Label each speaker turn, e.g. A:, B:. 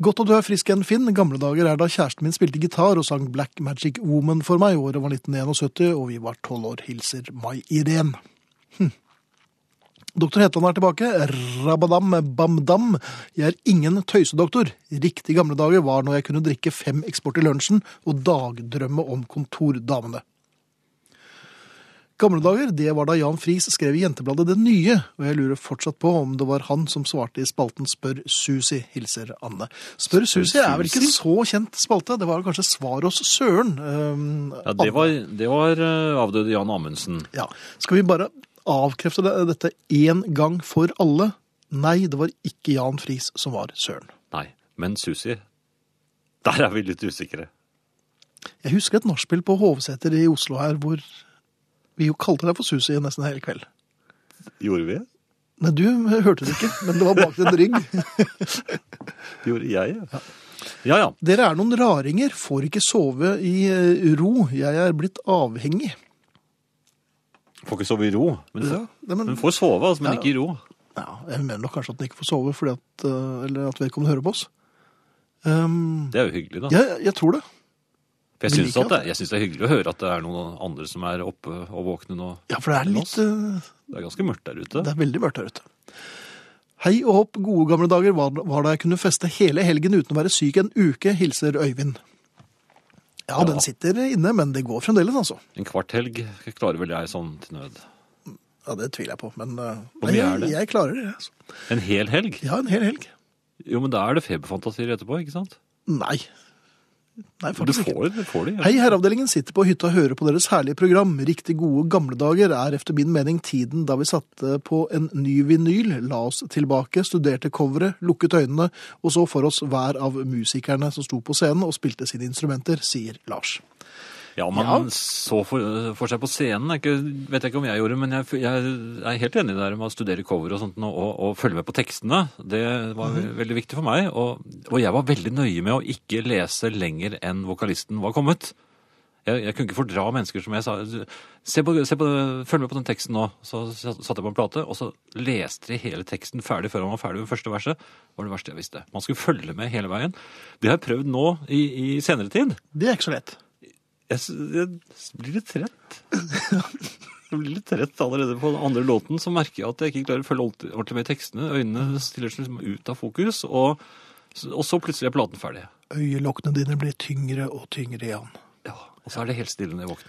A: Godt at du er frisk igjen, Finn. Gamle dager er da kjæresten min spilte gitar og sang Black Magic Woman for meg. Året var 1971, og vi var tolv år. Hilser Mai-Irén. Hm. Doktor Hetland er tilbake. Rabadam bamdam. Jeg er ingen tøysedoktor. Riktig gamle dager var når jeg kunne drikke fem eksport i lunsjen og dagdrømme om kontordamene. Gamle dager, det var da Jan Friis skrev i Jentebladet Det Nye, og jeg lurer fortsatt på om det var han som svarte i spalten Spør Susi, hilser Anne. Spør, Susi er vel ikke
B: Susi?
A: så kjent spalte, det var kanskje Svar oss Søren. ehm,
B: Ja, det var, det var eh, avdøde Jan Amundsen.
A: ja. Skal vi bare avkrefte det- dette én gang for alle? Nei, det var ikke Jan Friis som var Søren.
B: Nei, men Susi, der er vi litt usikre.
A: Jeg husker et nachspiel på Hovseter i Oslo her, hvor vi jo kalte deg for Susi nesten hele kveld.
B: Gjorde vi?
A: Nei, du hørte det ikke, men det var bak din rygg.
B: Gjorde jeg? Ja, ja. ja.
A: Dere er noen raringer, får ikke sove i eh, ro. Jeg er blitt avhengig.
B: Får ikke sove i ro. Men,
A: Ja, nei, men,
B: men får sove, altså, men
A: Ja.
B: ikke i ro.
A: ja, jeg mener nok kanskje at den ikke får sove, fordi at, eh, eller at vedkommende hører på oss. Um,
B: Det er jo hyggelig, da.
A: ja, jeg- jeg tror det.
B: For jeg
A: vi
B: syns,
A: liker
B: at det, jeg syns det er hyggelig å høre at det er noen andre som er oppe og våkne nå.
A: Ja, for det er litt eh,
B: Det er ganske mørkt der ute.
A: Det er veldig mørkt her ute. Hei og hopp, gode gamle dager var, var da jeg kunne feste hele helgen uten å være syk en uke, hilser Øyvind. Ja,
B: Ja.
A: den sitter inne, men det går fremdeles, altså.
B: En kvart helg klarer vel jeg sånn til nød.
A: Ja, det tviler jeg på, men eh,
B: Hvor
A: nei,
B: mye er
A: jeg,
B: det?
A: jeg klarer det. Altså.
B: En hel helg?
A: Ja, en hel helg.
B: Jo, men da er det feberfantasier etterpå, ikke sant?
A: Nei. Nei,
B: Du
A: faktisk ikke.
B: får, du får det. Ja.
A: Hei, herreavdelingen sitter på hytta og hører på deres herlige program. Riktig gode gamle dager er efter min mening tiden da vi satte på en ny vinyl, la oss tilbake, studerte coveret, lukket øynene, og så for oss hver av musikerne som sto på scenen og spilte sine instrumenter, sier Lars.
B: Ja, man
A: Ja.
B: så for, for seg på scenen. Jeg ikke, vet jeg ikke om jeg gjorde, men jeg, jeg er helt enig der med å studere cover og sånt nå, og, og følge med på tekstene. Det var ve- veldig viktig for meg. Og, og jeg var veldig nøye med å ikke lese lenger enn vokalisten var kommet. Jeg, jeg kunne ikke fordra mennesker som jeg sa se på, se på, Følg med på den teksten nå. Så satt- satte jeg på en plate, og så leste de hele teksten ferdig før han var ferdig med første verset. Det var det verste jeg visste. Man skulle følge med hele veien. Det har jeg prøvd nå i, i senere tid.
A: Det er ikke så lett.
B: Jeg, s- jeg s- blir litt trett. Jeg blir litt trett allerede på den andre låten, så merker jeg at jeg ikke klarer å følge ordent- ordentlig med i tekstene. Øynene stiller seg liksom ut av fokus, og, s- og så plutselig er platen ferdig.
A: Øyelokkene dine blir tyngre og tyngre, Jan.
B: Ja, og så er det helt stille når jeg våkner.